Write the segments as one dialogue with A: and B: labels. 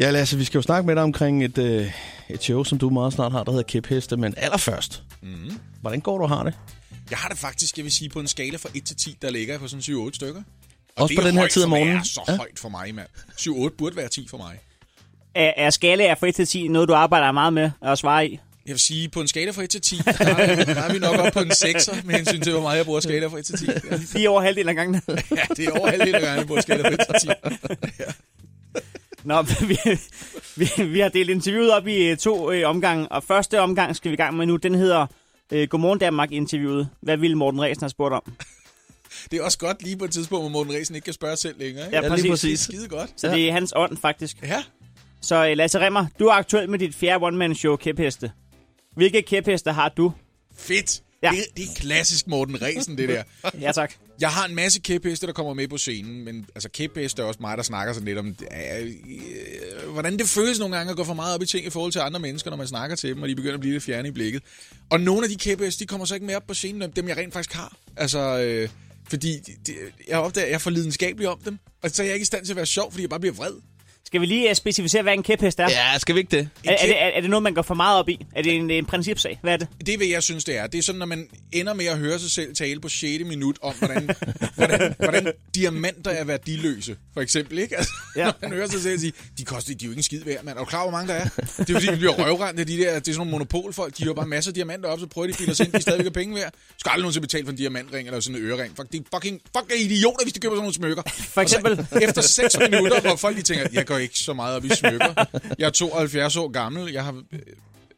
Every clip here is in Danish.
A: Ja, Lasse, vi skal jo snakke med dig omkring et, øh, et show, som du meget snart har, der hedder Kæpheste. Men allerførst,
B: Mm.
A: hvordan går du og har det?
B: Jeg har det faktisk, jeg vil sige, på en skala fra 1 til 10, der ligger jeg på sådan 7-8 stykker. Og
A: Også
B: det
A: på
B: er
A: den her
B: højt
A: tid om
B: for mig.
A: morgenen?
B: Det er så
A: Ja.
B: ja. højt for mig, mand. 7-8 burde være 10 for mig.
C: Er, er skala af fritidstid noget, du arbejder meget med at svare i?
B: Jeg vil sige, på en skala fra 1 til 10, der er, vi- der er vi nok oppe på en 6'er med hensyn til, hvor meget jeg bruger skala fra 1 til 10. Ja,
C: Fire over halvdelen af gangen.
B: ja det er over halvdelen af gangen, jeg bruger skala fra 1 til 10.
C: Nå, vi, vi, vi har delt interviewet op i øh, to øh, omgange, og første omgang skal vi i gang med nu, den hedder øh, Godmorgen Danmark-interviewet. Hvad ville Morten Ræsen have spurgt om?
B: Det er også godt lige på et tidspunkt, hvor Morten Ræsen ikke kan spørge selv længere. Ikke?
C: Ja, præcis.
B: Det er skide godt.
C: Så det er hans ånd, faktisk.
B: Ja.
C: Så øh, Lasse Remmer, du er aktuel med dit fjerde one-man-show, Kæpheste. Hvilke kæpheste har du?
B: Fedt.
C: Ja.
B: Ja. Det, det er klassisk Morten Ræsen, det der.
C: Ja, tak.
B: Jeg har en masse kæpheste, der kommer med på scenen, men altså kæpheste er også mig, der snakker sådan lidt om, øh, øh, hvordan det føles nogle gange at gå for meget op i ting i forhold til andre mennesker, når man snakker til dem, og de begynder at blive lidt fjerne i blikket. Og nogle af de kæpheste, de kommer så ikke med op på scenen, end dem jeg rent faktisk har. Altså, øh, fordi de, de, jeg opdager, at jeg er for lidenskabelig om dem, og så er jeg ikke i stand til at være sjov, fordi jeg bare bliver vred.
C: Skal vi lige øh, specificere, hvad en kæphest er?
A: Ja, skal vi ikke det?
C: Er, er, det, er, er det noget, man går for meget op i? Er det en, en principsag? Hvad er det?
B: Det er, hvad jeg synes, det er. Det er sådan, når man ender med at høre sig selv tale på 6. minut om, hvordan, hvordan, hvordan diamanter er værdiløse, for eksempel. Ikke? Altså,
C: Ja.
B: ja. Når man hører sig selv sige, de, koster, de er jo ikke en skid værd, mand. Er du klar, hvor mange der er? Det er jo fordi, vi bliver røvrendt af de der, det er sådan nogle monopolfolk. De har bare masser af diamanter op, så prøver de at bilde os ind, de er stadigvæk er penge værd. Skal aldrig nogensinde betale for en diamantring eller sådan en ørering. Fuck, det er fucking fuck er idioter, hvis de køber sådan nogle smykker.
C: For eksempel...
B: Efter 6 minutter, hvor folk de tænker, jeg går ikke så meget op i smykker. Jeg er 72 år gammel, jeg har øh,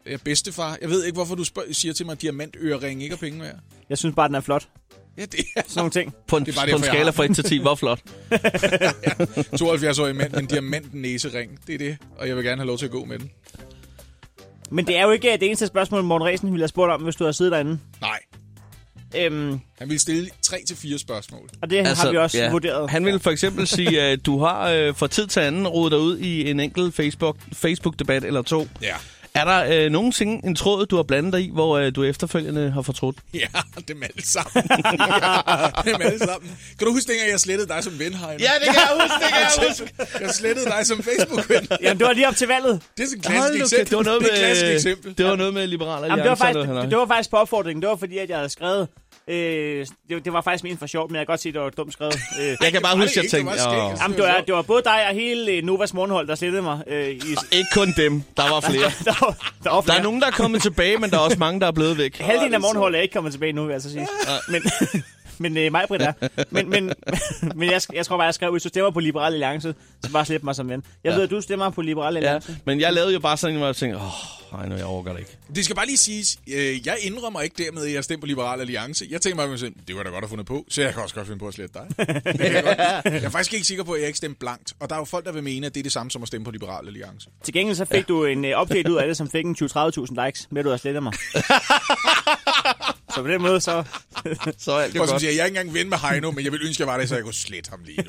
B: jeg er bedstefar. Jeg ved ikke, hvorfor du spørg- siger til mig, at diamantørering ikke er penge værd.
C: Jeg synes bare, den er flot.
B: Ja, det er
C: Sådan nogle ting.
A: På en,
B: Det er
A: det
B: bare
A: på en
B: derfor, jeg
A: skala
B: har
A: fra 1 til 10, hvor flot.
B: 72-årig mand med en diamantnæsering. Det er det, og jeg vil gerne have lov til at gå med den.
C: Men det er jo ikke øh, det eneste spørgsmål, Morten Ræsen ville have spurgt om, hvis du havde siddet derinde.
B: Nej,
C: Øhm,
B: han ville stille 3-4 spørgsmål.
C: og det altså, har vi også ja. vurderet.
A: Han ville for eksempel sige, at du har øh, fra tid til anden rodet dig ud i en enkelt Facebook, Facebook-debat eller to.
B: Ja.
A: Er der øh, nogensinde en tråd, du har blandet dig i, hvor øh, du efterfølgende har fortrudt?
B: Ja, dem alle sammen. ja, dem alle sammen. Kan du huske, dengang jeg slettede dig som ven, Heine?
A: det kan jeg huske, det kan jeg huske.
B: Jeg slettede dig som Facebook-ven.
C: Jamen, det var lige op til valget.
B: Det er sådan et
A: Hold
B: klassisk
A: nu,
B: eksempel.
A: kæft, det var noget
B: det er et klassisk
A: med,
B: eksempel.
A: det var noget med liberale
C: Jamen, det, var
A: alliance
C: faktisk,
A: og noget
C: det,
A: halløj.
C: det var faktisk på opfordringen. Det var fordi, at jeg havde skrevet... Øh, det, det var faktisk ment for sjovt, men jeg kan godt se, at det var dumt skrevet. Øh,
A: Jeg kan bare
B: var
A: huske,
B: det
A: at jeg
B: ikke, det
A: tænkte,
B: var
A: åh.
B: skægt.
C: jamen, det var, det var både dig og hele øh, Novas morgenhold, der slettede mig. Øh, i,
A: ikke kun dem, der var flere.
C: der, var- der, var
A: Der
C: flere.
A: er nogen, der er kommet tilbage, men der er også mange, der er blevet væk.
C: Halvdelen af morgenholdet er ikke kommet tilbage nu, vil jeg så sige. Men, men øh, mig, Britt, er. Men, men, men jeg, sk- jeg tror bare, jeg skrev, hvis du stemmer på Liberal Alliance, så bare slip mig som ven. Jeg ja. ved, at du stemmer på Liberal
A: Ja,
C: Alliance.
A: men jeg lavede jo bare sådan en, hvor jeg tænkte, åh, oh, nej, nu jeg overgår det ikke.
B: Det skal bare lige siges, øh, jeg indrømmer ikke dermed, at jeg stemte på Liberal Alliance. Jeg tænker mig, at det var da godt at fundet på, så jeg kan også godt finde på at slette dig. Det kan jeg, godt. jeg er faktisk ikke sikker på, at jeg ikke stemte blankt. Og der er jo folk, der vil mene, at det er det samme som at stemme på Liberal Alliance.
C: Til gengæld så fik du en øh, update ud af det, som fik en 20-30.000 likes, med at du har slettet mig. så på den måde, så...
A: Så er alt
B: Og som siger, jeg er ikke engang ven med Heino, men jeg vil ønske, at jeg var der, så jeg kunne slette ham lige. nu.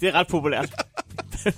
C: Det er ret populært.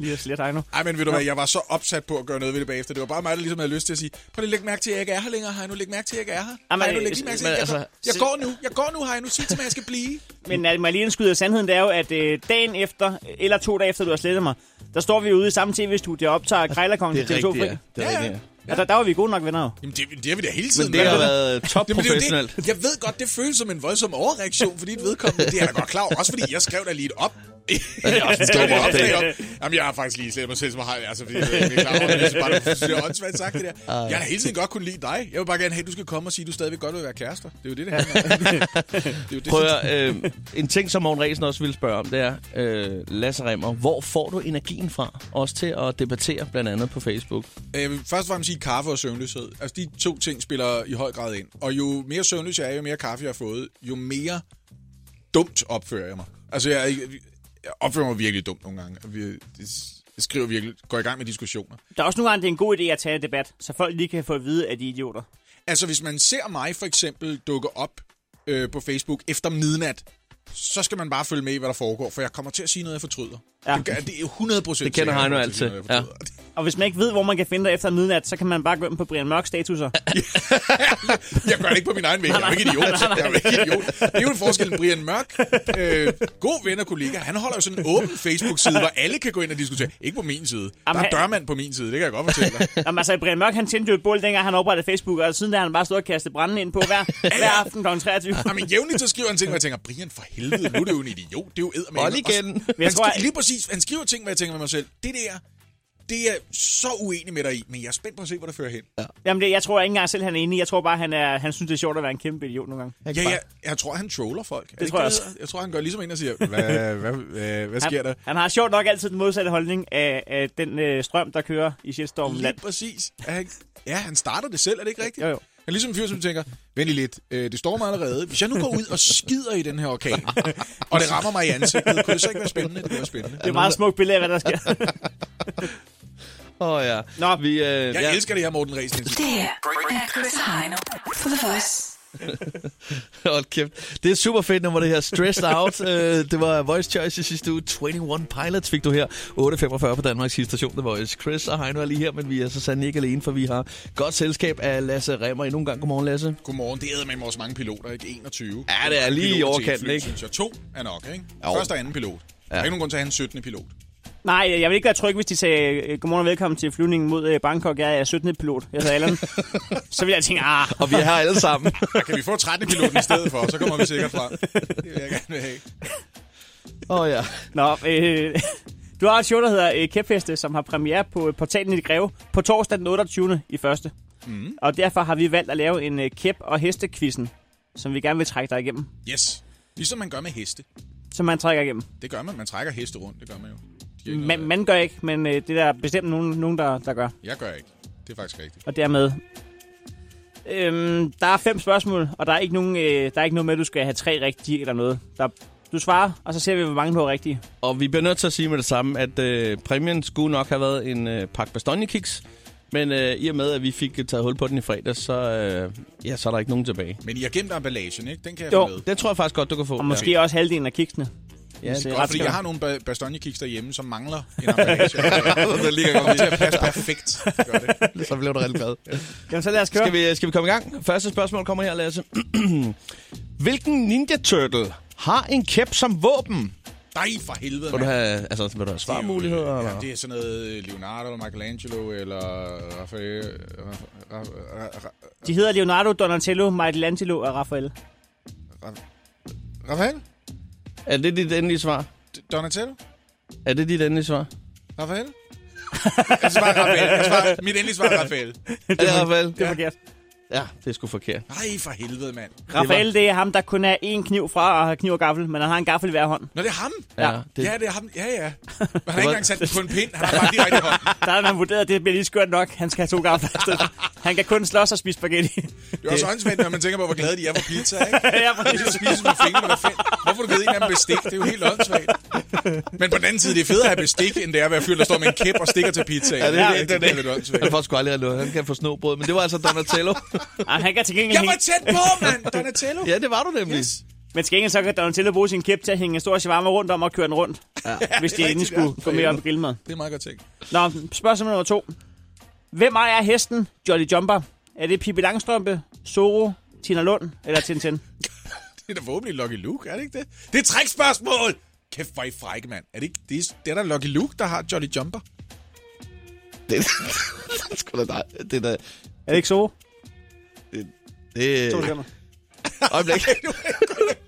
C: Lige at slette dig nu.
B: Ej, men ved du hvad, jeg var så opsat på at gøre noget ved det bagefter. Det var bare mig, der ligesom havde lyst til at sige, prøv lige at lægge mærke til, at jeg ikke er her længere, Heino. Læg mærke til, at jeg ikke er her.
C: Jamen,
B: Heino,
C: øh,
B: læg lige mærke til,
A: men
B: at jeg,
A: altså,
B: går. jeg går nu. Jeg går nu, Heino. Sig til mig, at jeg skal blive.
C: Men at man lige indskyder sandheden, det er jo, at øh, dagen efter, eller to dage efter, du har slettet mig, der står vi ude i samme tv-studie og optager Krejlerkongen
A: Altså, Det er
C: til TV2
A: rigtigt,
C: Fri.
A: ja. Det er
B: Ja, ja.
A: rigtigt, ja.
C: Altså, der var vi gode nok venner jo.
B: Jamen, det, det har vi da hele tiden.
A: Men det har
B: været.
A: været øh,
B: Jamen, det er jo det.
A: topprofessionelt.
B: Jeg ved godt, det føles som en voldsom overreaktion for dit vedkommende. Det er jeg da godt klar over. Også fordi jeg skrev da lige et op. jeg også en
A: dum opslag.
B: Jamen, jeg har faktisk lige slet mig selv som har. Altså, fordi jeg er ikke klar over, det. Jeg synes bare, det er åndssvagt sagt det der. Jeg har da hele tiden godt kunne lide dig. Jeg vil bare gerne have, at du skal komme og sige, at du stadigvæk godt vil være kærester. Det er jo det, det handler om. det er jo det,
A: Prøv at, høre, øh, en ting, som Morten Ræsen også ville spørge om, det er, øh, Lasse Remmer, hvor får du energien fra? Også til at debattere, blandt andet på Facebook.
B: Øh, Jeg vil først og fremmest sige kaffe og søvnløshed. Altså, de to ting spiller i høj grad ind. Og jo mere søvnløs jeg er, jo mere kaffe jeg har fået, jo mere dumt opfører jeg mig. Altså, jeg, er ikke- jeg opfører mig virkelig dumt nogle gange. Og vi- Jeg skriver virkelig, går i gang med diskussioner.
C: Der er også nogle gange, det er en god idé at tage en debat, så folk lige kan få at vide, at de er idioter.
B: Altså, hvis man ser mig for eksempel dukke op øh, på Facebook efter midnat, så skal man bare følge med i, hvad der foregår, for jeg kommer til at sige noget, jeg fortryder.
C: Ja.
B: Ja. Det, gør, det er 100 procent
A: Det kender Heino altid.
B: Ja.
C: Og hvis man ikke ved, hvor man kan finde dig efter midnat, så kan man bare gå ind på Brian Mørk statuser.
B: jeg gør det ikke på min egen væg. Jeg er jo ikke idiot. Jeg er jo ikke idiot. Det er jo en forskel. Brian Mørk, øh, god ven og kollega, han holder jo sådan en åben Facebook-side, hvor alle kan gå ind og diskutere. Ikke på min side.
C: Jamen,
B: der er
C: han-
B: dørmand på min side, det kan jeg godt fortælle dig.
C: Jamen, altså, Brian Mørk, han tændte jo et bål, dengang han oprettede Facebook, og siden da har han bare stået og kastet branden ind på hver, hver aften kl. 23.
B: Jamen, jævnligt så skriver han ting, hvor jeg tænker, Brian, for helvede, nu er det jo en idiot. Det er jo eddermame.
A: Hold igen.
B: Og-
C: jeg
B: Han
C: tror,
B: skriver,
C: jeg-
B: lige præcis, han skriver ting, hvor jeg tænker med mig selv. Det der, det er jeg så uenig med dig i, men jeg er spændt på at se, hvor det fører hen.
C: Jamen, det, jeg tror ikke engang selv, han er enig. Jeg tror bare, han, er, han synes, det er sjovt at være en kæmpe idiot nogle gange.
B: Ja, jeg, jeg tror, han troller folk. Det, det
C: tror jeg
B: det
C: også.
B: hedder? Jeg tror, han gør ligesom en og siger, hvad, hvad, hvad, hvad sker der?
C: Han, han har sjovt nok altid den modsatte holdning af, af den øh, strøm, der kører i shitstormen
B: Lige
C: land.
B: præcis. Er han, ja, han starter det selv, er det ikke rigtigt?
C: Jo, jo.
B: Han er ligesom en fyr, som tænker, vent lige lidt, øh, det står mig allerede. Hvis jeg nu går ud og skider i den her orkan, og det rammer mig i ansigtet, kunne det så ikke være spændende? Det kunne være spændende.
C: Det er et meget smukt billede af, hvad der sker.
A: Åh, oh, ja.
C: Nå.
A: vi, øh,
B: Jeg
A: ja.
B: elsker det her, Morten Ræsen.
D: Det her er Chris og Heino for The Voice.
A: Hold kæft. Det er super fedt nummer, det her. Stressed Out. Øh, det var Voice Choice i sidste uge. 21 Pilots fik du her. 8.45 på Danmarks station, The Voice. Chris og Heino er lige her, men vi er så sandelig ikke alene, for vi har godt selskab af Lasse Remmer. Endnu en gang. Godmorgen, Lasse.
B: Godmorgen, det æder med vores mange piloter, ikke? 21.
A: Ja, det er lige i
B: Piloter til et
A: overkanten,
B: fly,
A: ikke?
B: Synes jeg. To er nok, ikke? Første og anden pilot. Der er ikke nogen grund til at have en 17. pilot.
C: Nej, jeg vil ikke være tryg, hvis de sagde, øh, godmorgen og velkommen til flyvningen mod øh, Bangkok. Jeg er 17. pilot. Jeg hedder Allan. så vil jeg tænke, ah,
A: Og vi er her alle sammen.
B: Og kan vi få 13. piloten i stedet for, så kommer vi sikkert fra. Det vil jeg gerne have.
A: Åh, oh, ja.
C: Nå, øh, du har et show, der hedder øh, Kæpheste, som har premiere på øh, portalen i det Greve på torsdag den 28. i første. Mm. Og derfor har vi valgt at lave en øh, kæp- og hestekvissen, som vi gerne vil trække dig igennem.
B: Yes. Ligesom man gør med heste.
C: Som man trækker igennem.
B: Det gør man. Man trækker heste rundt. Det gør man jo. De er ikke
C: Man,
B: noget-
C: man gør ikke, men øh, det er der bestemt nogen, nogen der, der gør.
B: Jeg gør ikke. Det er faktisk rigtigt.
C: Og dermed... Øhm, der er fem spørgsmål, og der er ikke, nogen, øh, der er ikke noget med, at du skal have tre rigtige eller noget. Der, du svarer, og så ser vi, hvor mange du har rigtige.
A: Og vi bliver nødt til at sige med det samme, at øh, præmien skulle nok have været en øh, pakke Bastogne-kiks. Men øh, i og med, at vi fik øh, taget hul på den i fredags, så, øh, ja, så er der ikke nogen tilbage.
B: Men I har gemt emballagen, ikke? Den kan jeg få
C: Jo.
B: med.
A: Det tror jeg faktisk godt, du kan få.
C: Og måske ja. også halvdelen af kiksene.
A: Ja,
C: Hvis, øh,
B: Godt, fordi
C: retsskriver-
B: jeg har nogle ba- bastogne-kiks derhjemme, som mangler en emballage. det ligger godt til at passe perfekt. Det gør det.
A: ja. så blev du rigtig glad.
C: Jamen, så lad os køre.
A: Skal vi, øh, skal vi komme i gang? Første spørgsmål kommer her, Lasse. Hvilken Ninja Turtle har en kæp som våben?
B: Nej, for helvede,
A: Vil du
B: mand.
A: have, altså, vil du have svarmuligheder?
B: øh, Ja,
A: Eller?
B: det er sådan noget øh, Leonardo, eller Michelangelo, eller Raphael... Ra- Ra- Ra- Ra-
C: De hedder Leonardo, Donatello, Michelangelo og Raphael.
B: Raphael?
A: Er det dit endelige svar?
B: D- Donatello?
A: Er det dit endelige svar?
B: Raphael? jeg svarer Raphael. Jeg svarer, mit endelige svar er Raphael.
A: Er det Rafael?
C: Det er forkert.
A: Ja, det er sgu forkert.
B: Nej, for helvede, mand.
C: Raphael, det er ham, der kun er én kniv fra at have kniv og gaffel, men han har en gaffel i hver hånd.
B: Nå, det er ham.
A: Ja,
B: Det...
A: det,
B: Ja, det er ham. Ja, ja. Men han har
A: var-
B: ikke engang sat den på en pind. Han har bare direkte i hånden.
C: Der har man vurderet, at det bliver lige skørt nok. Han skal have to gafler i stedet. Han kan kun slås og spise spaghetti.
B: Det er også åndssvagt, når man tænker på, hvor glade de er for pizza, ikke?
C: ja,
B: Det
C: præcis.
B: skal spises med fingrene, hvad fanden? Hvorfor har du givet en af dem bestik? Det er jo helt åndssvagt. Men på den anden side, det er federe at have bestik, end det er at være fyr, der står med en kæp og stikker til pizzaen.
A: Ja, det er det,
B: det,
A: det er
B: er lidt åndssvagt.
A: han får sgu aldrig noget. Han kan få snobrød, men det var altså Donatello.
C: Ej, Ah, han kan til gengæld
B: Jeg var
C: hænge...
B: tæt på, mand! Donatello!
A: ja, det var du nemlig.
B: Yes.
C: Men til gengæld så kan Donatello bruge sin kæp til at hænge en stor shawarma rundt om og køre den rundt. Ja. Hvis de
B: det er
C: endelig
B: rigtigt,
C: skulle
B: ja.
C: gå mere op i grillmad.
B: Det er meget godt tænkt.
C: Nå, spørgsmål nummer to. Hvem ejer hesten Jolly Jumper? Er det Pippi Langstrømpe, Zoro, Tina Lund eller Tintin?
B: Det er da forhåbentlig Lucky Luke, er det ikke det? Det er et trækspørgsmål! Kæft, hvor er I frække, mand. Er det ikke det, er, det er da Lucky Luke, der har Jolly Jumper?
A: Det, det er sgu da dig. Det er da...
C: Er det ikke Zoro?
A: Det,
C: To
A: øh,
C: sekunder.
A: øjeblik.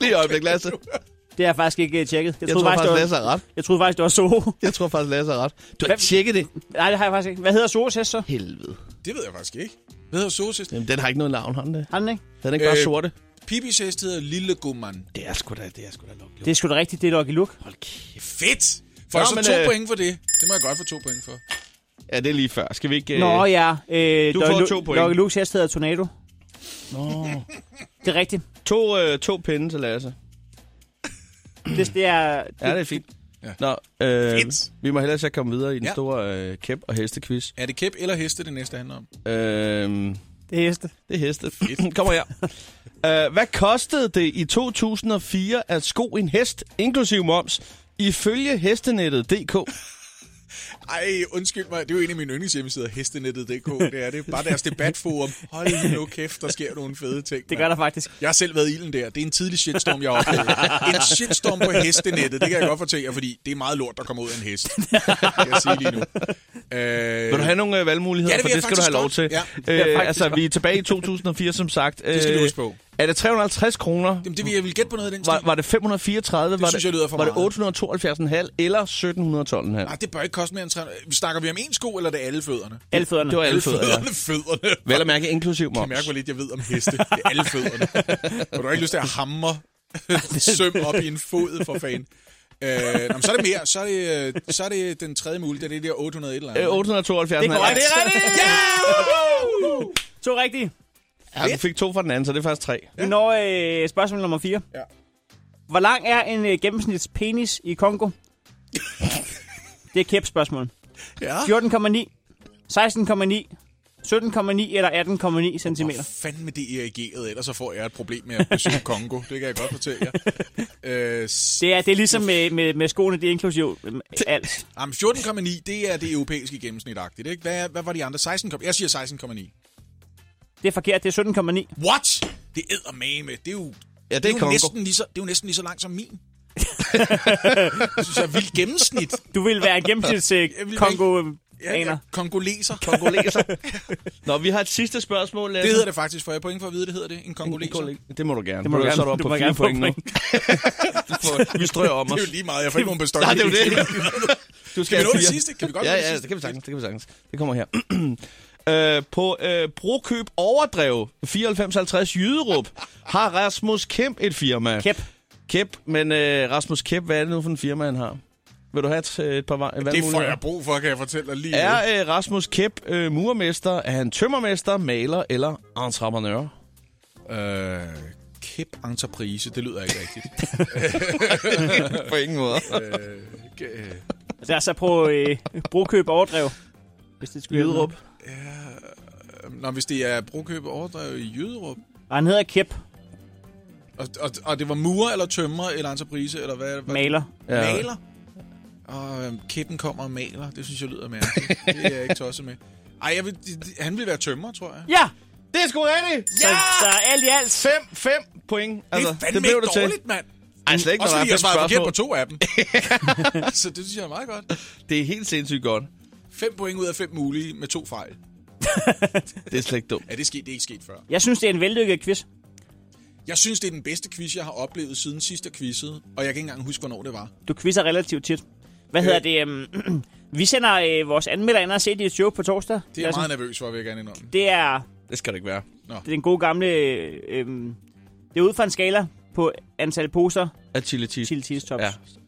A: Lige øjeblik, Lasse. Jeg,
C: Det har jeg faktisk ikke øh, tjekket. Jeg,
A: jeg tror faktisk,
C: faktisk, det var,
A: Lasse har ret.
C: jeg troede faktisk, det var Soho.
A: Jeg tror faktisk, Lasse har ret. Du har
C: Hvem-
A: tjekket det.
C: Nej, det har jeg faktisk ikke. Hvad hedder Sohos hest så?
A: Helvede.
B: Det ved jeg faktisk ikke. Hvad hedder Sosis?
A: Jamen, den har ikke noget navn, han det.
C: Har den ikke?
A: Den er ikke bare
B: Øh,
A: sorte.
B: Pipis hest hedder Lille Gumman.
A: Det er sgu da, det er sgu da Lucky
C: Det er sgu da rigtigt, det er Lucky Luke.
A: Hold kæft.
B: Fedt!
A: Nå,
B: Får jeg så
A: men,
B: to
A: øh,
B: point for det? Det må jeg godt få to point for.
A: Ja, det er lige før. Skal vi ikke... øh,
C: Nå ja, øh,
A: du
C: Lucky
A: får
C: Lu-
A: to point.
C: Lucky Lukes hest hedder Tornado.
A: Nå.
C: Det er rigtigt.
A: To, øh, to pinde til Lasse.
C: Det, det er...
A: Ja, det er fint.
B: Ja.
A: Nå, øh,
B: Fedt.
A: vi må hellere så komme videre i den
B: Ja.
A: store øh, kæp- og hestequiz.
B: Er det kæp eller heste, det næste handler om?
A: Øh,
C: Det er heste.
A: det er heste. Kommer her. Øh, hvad kostede det i 2004 at sko en hest, inklusive moms, ifølge hestenettet.dk?
B: Ej, undskyld mig. Det er jo en af mine yndlingshjemmesider, hestenettet.dk. Det er det. Bare deres debatforum. Hold nu kæft, der sker nogle fede ting.
C: Det gør
B: mand.
C: der faktisk.
B: Jeg har selv været i ilden der. Det er en tidlig shitstorm, jeg har oplevet. En shitstorm på hestenettet, det kan jeg godt fortælle jer, fordi det er meget lort, der kommer ud af en hest. Det kan jeg sige lige nu. Øh,
A: Vil du have nogle øh, valgmuligheder,
B: Ja, det
A: for
B: vil jeg
A: det skal du have lov
B: faktisk
A: til.
B: godt.
C: vil jeg
A: Øh,
C: faktisk
A: altså,
C: godt.
A: vi er tilbage i 2004, som sagt.
B: det skal du
A: Øh,
B: huske på.
A: Er det 350 kroner?
B: Jamen, det vil jeg vil gætte på noget af den stil.
A: Var, var det 534? Det var
B: synes jeg lyder for
A: Var det 872,5 eller 1712,5?
B: Nej, det bør ikke koste mere end 300. Snakker vi om én sko, eller er det alle fødderne?
C: Alle fødderne.
A: Det var alle fødder, ja.
B: Fødderne, fødderne.
A: Vel at mærke inklusiv moms.
B: Jeg mærker, hvor lidt jeg ved om heste. Det er alle fødderne. Har du ikke lyst til at hamre søm op i en fod, for fanden? Øh, nå, men så er det mere. Så er det, øh, så er det den tredje mulighed. Det er det der 800 et eller andet.
A: Øh, 872.
C: Det er korrekt.
B: det er rigtigt! Ja! Woohoo!
C: To rigtige.
A: Ja, du fik to fra den anden, så det er faktisk tre.
C: Vi når øh, spørgsmål nummer 4.
B: Ja.
C: Hvor lang er en øh, gennemsnits penis i Kongo? det er kæp spørgsmål.
B: Ja.
C: 14,9, 16,9, 17,9 eller 18,9 cm.
B: Hvor fanden med det erigeret, ellers så får jeg et problem med at besøge Kongo. Det kan jeg godt fortælle jer. Øh, s-
C: Det er, det er ligesom med, med, med skoene, det er inklusiv øh, alt.
B: jamen, 14,9, det er det europæiske gennemsnitagtigt. Ikke? Hvad, hvad var de andre? 16, jeg siger 16,9.
C: Det er forkert, det er 17,9.
B: What? Det æder med. Det er jo,
A: Ja, det
B: det
A: er
B: er jo
A: Congo.
B: næsten lige så, det er jo næsten lige så langt som min. det synes jeg er vildt gennemsnit.
C: Du vil være en gennemsnits øh,
B: Jeg vil være
C: kongo
B: Ja, ja.
C: aner
B: Kongoleser.
A: Kongoleser. Nå, vi har et sidste spørgsmål, Lasse.
B: Det hedder det faktisk, for jeg har point for at vide, det hedder det. En kongoleser. Det
A: Kongoleser. Det må du gerne.
C: Det må du gerne.
A: Så er du
C: Du
A: oppe
C: må
A: på fire
C: gerne få
A: point nu.
C: point.
A: vi strøger om
B: er
A: os.
B: jo lige meget. Jeg får ikke nogen bestøjning.
A: Nej, det er jo det. Du
B: Kan vi nå det
A: fire.
B: sidste? Kan vi godt
A: Ja,
B: nå det
A: ja,
B: sidste?
A: det kan vi sagtens. Det kan vi sagtens. Det kommer her. Øh, på øh, Brokøb Overdrev 9450 Jyderup har Rasmus Kemp et firma.
C: Kæp.
A: Kæp, men øh, Rasmus Kæp, hvad er det nu for en firma, han har? Vil du have et, øh, et par va-
B: Det får
A: valgmuligheder?
B: jeg brug for, kan jeg fortælle dig lige. nu.
A: Er øh, Rasmus Kæp øh, murmester? Er han tømmermester, maler eller entreprenør?
B: Øh, kæp entreprise, det lyder ikke rigtigt.
A: På ingen måde.
B: øh, k- øh,
C: Lad os så prøve øh, brokøb overdrev. Hvis det skulle hjælpe
A: Jyderup.
B: Nå, hvis det er brokøb overdrevet i Jyderup,
C: noget. Og han hedder Kæp
B: og, og, og det var murer eller tømrer eller entreprise, eller hvad? hvad?
C: Maler.
A: Ja.
B: Maler? Og øhm, kæppen kommer og maler, det synes jeg lyder mærkeligt. det er jeg ikke tosset med. Ej, jeg vil, det- det- han vil være tømrer, tror jeg.
C: Ja!
A: Det er sgu rigtigt!
C: Så, så alt i alt.
A: 5 point. Altså,
B: Altså, det er fandme ikke dårligt, mand.
A: Ej, slet ikke, når
B: Også
A: der er
B: fordi
A: fem
B: jeg svarede forkert
A: spørgsmål.
B: på to af dem. Så det synes jeg er meget godt.
A: Det er helt sindssygt godt.
B: Fem point ud af fem mulige med to fejl.
A: Det er slet ikke dumt.
B: Ja, det er, sket, det er ikke sket før.
C: Jeg synes, det er en vellykket quiz.
B: Jeg synes, det er den bedste quiz, jeg har oplevet siden sidst jeg quizzede, og jeg kan ikke engang huske, hvornår det var.
C: Du quizzer relativt tit. Hvad
B: Øh.
C: hedder det? øhm, vi sender øh, vores anmelder ind og se dit show på torsdag.
B: Det er jeg meget nervøs for, vil jeg gerne indrømme.
C: det er
A: Det skal det ikke være.
C: den gode gamle... Øh, øhm, det er ud fra en skala på antal poser
A: Af chili cheese.
C: til cheese tops.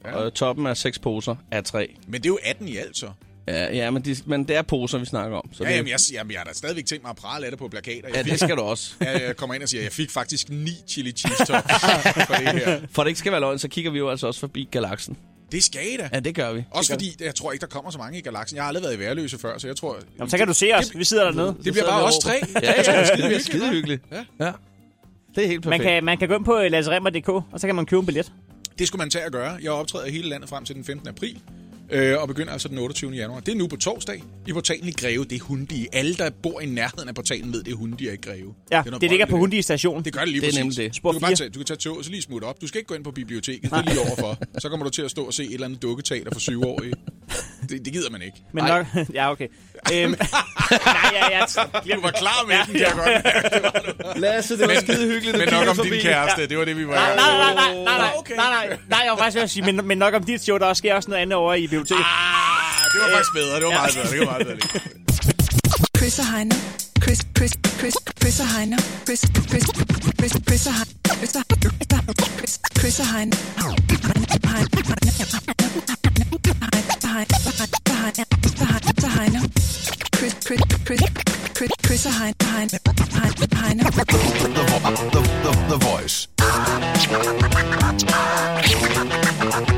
A: Ja. Og toppen er seks poser af tre.
B: Men det er jo 18 i alt, så.
A: Ja, ja men, de, men det er poser, vi snakker om. Så
B: Ja,
A: det,
B: jamen, jeg, jamen, jeg har da stadigvæk tænkt mig at prale af det på plakater. Jeg,
A: ja, det skal du også.
B: fik, jeg, jeg kommer ind og siger, at jeg fik faktisk ni chili cheese tops for det her.
A: For det ikke skal være løgn, så kigger vi jo altså også forbi galaksen.
B: Det skal I da.
A: Ja, det gør vi.
B: Også fordi, jeg tror ikke, der kommer så mange i galaksen. Jeg har aldrig været i værløse før, så jeg tror...
C: Jamen, så kan du se os. Vi sidder dernede.
B: Det bliver bare os tre.
A: Ja, ja, ja. Det bliver skide hyggeligt. Ja. ja. Det er helt
C: Man
A: perfekt.
C: kan, man kan gå ind på øh, laseremmer.dk, og så kan man købe en billet.
B: Det skulle man tage at gøre. Jeg optræder i hele landet frem til den 15. april. Øh, og begynder altså den 28. januar. Det er nu på torsdag. I portalen i Greve, det er Hundi. Alle, der bor i nærheden af portalen, ved, det er Hundi og ikke Greve.
C: Ja,
B: noget
C: det ligger på
B: brøl,
C: Hundi station.
B: Det gør det lige
A: Det er
B: præcis.
A: nemlig det.
C: Spor
B: du kan bare
C: fire.
B: tage, du kan tage toget, så lige smutte op. Du skal ikke gå ind på biblioteket, det er lige overfor. Så kommer du til at stå og se et eller andet dukketeater for syvårige. Det, det gider man ikke.
C: Men nok... ja, okay. Øhm, nej, ja, ja.
B: Du var klar med den, kan jeg godt mærke.
A: Lasse, det var skide hyggeligt.
B: Men nok om din kæreste, det var det, vi var i
C: Nej,
B: gang
C: nej,
B: med.
C: nej, nej, nej, nej,
B: Okay.
C: nej, nej, nej, jeg var faktisk ved at sige, men, men nok om dit show, der sker også noget andet over i biblioteket.
B: Ah, det var faktisk bedre, det var meget bedre, det var meget bedre.
D: Chris og Heino. Chris, Chris, Chris, Chris og Heino. Chris, Chris, Chris, Chris og Heino. Chris, Chris, Chris og Heino. Heino. Chris, Chris, Chris, Chris, Chris og Heino. Heino. Heino.
E: The, vo- the, the, the Voice.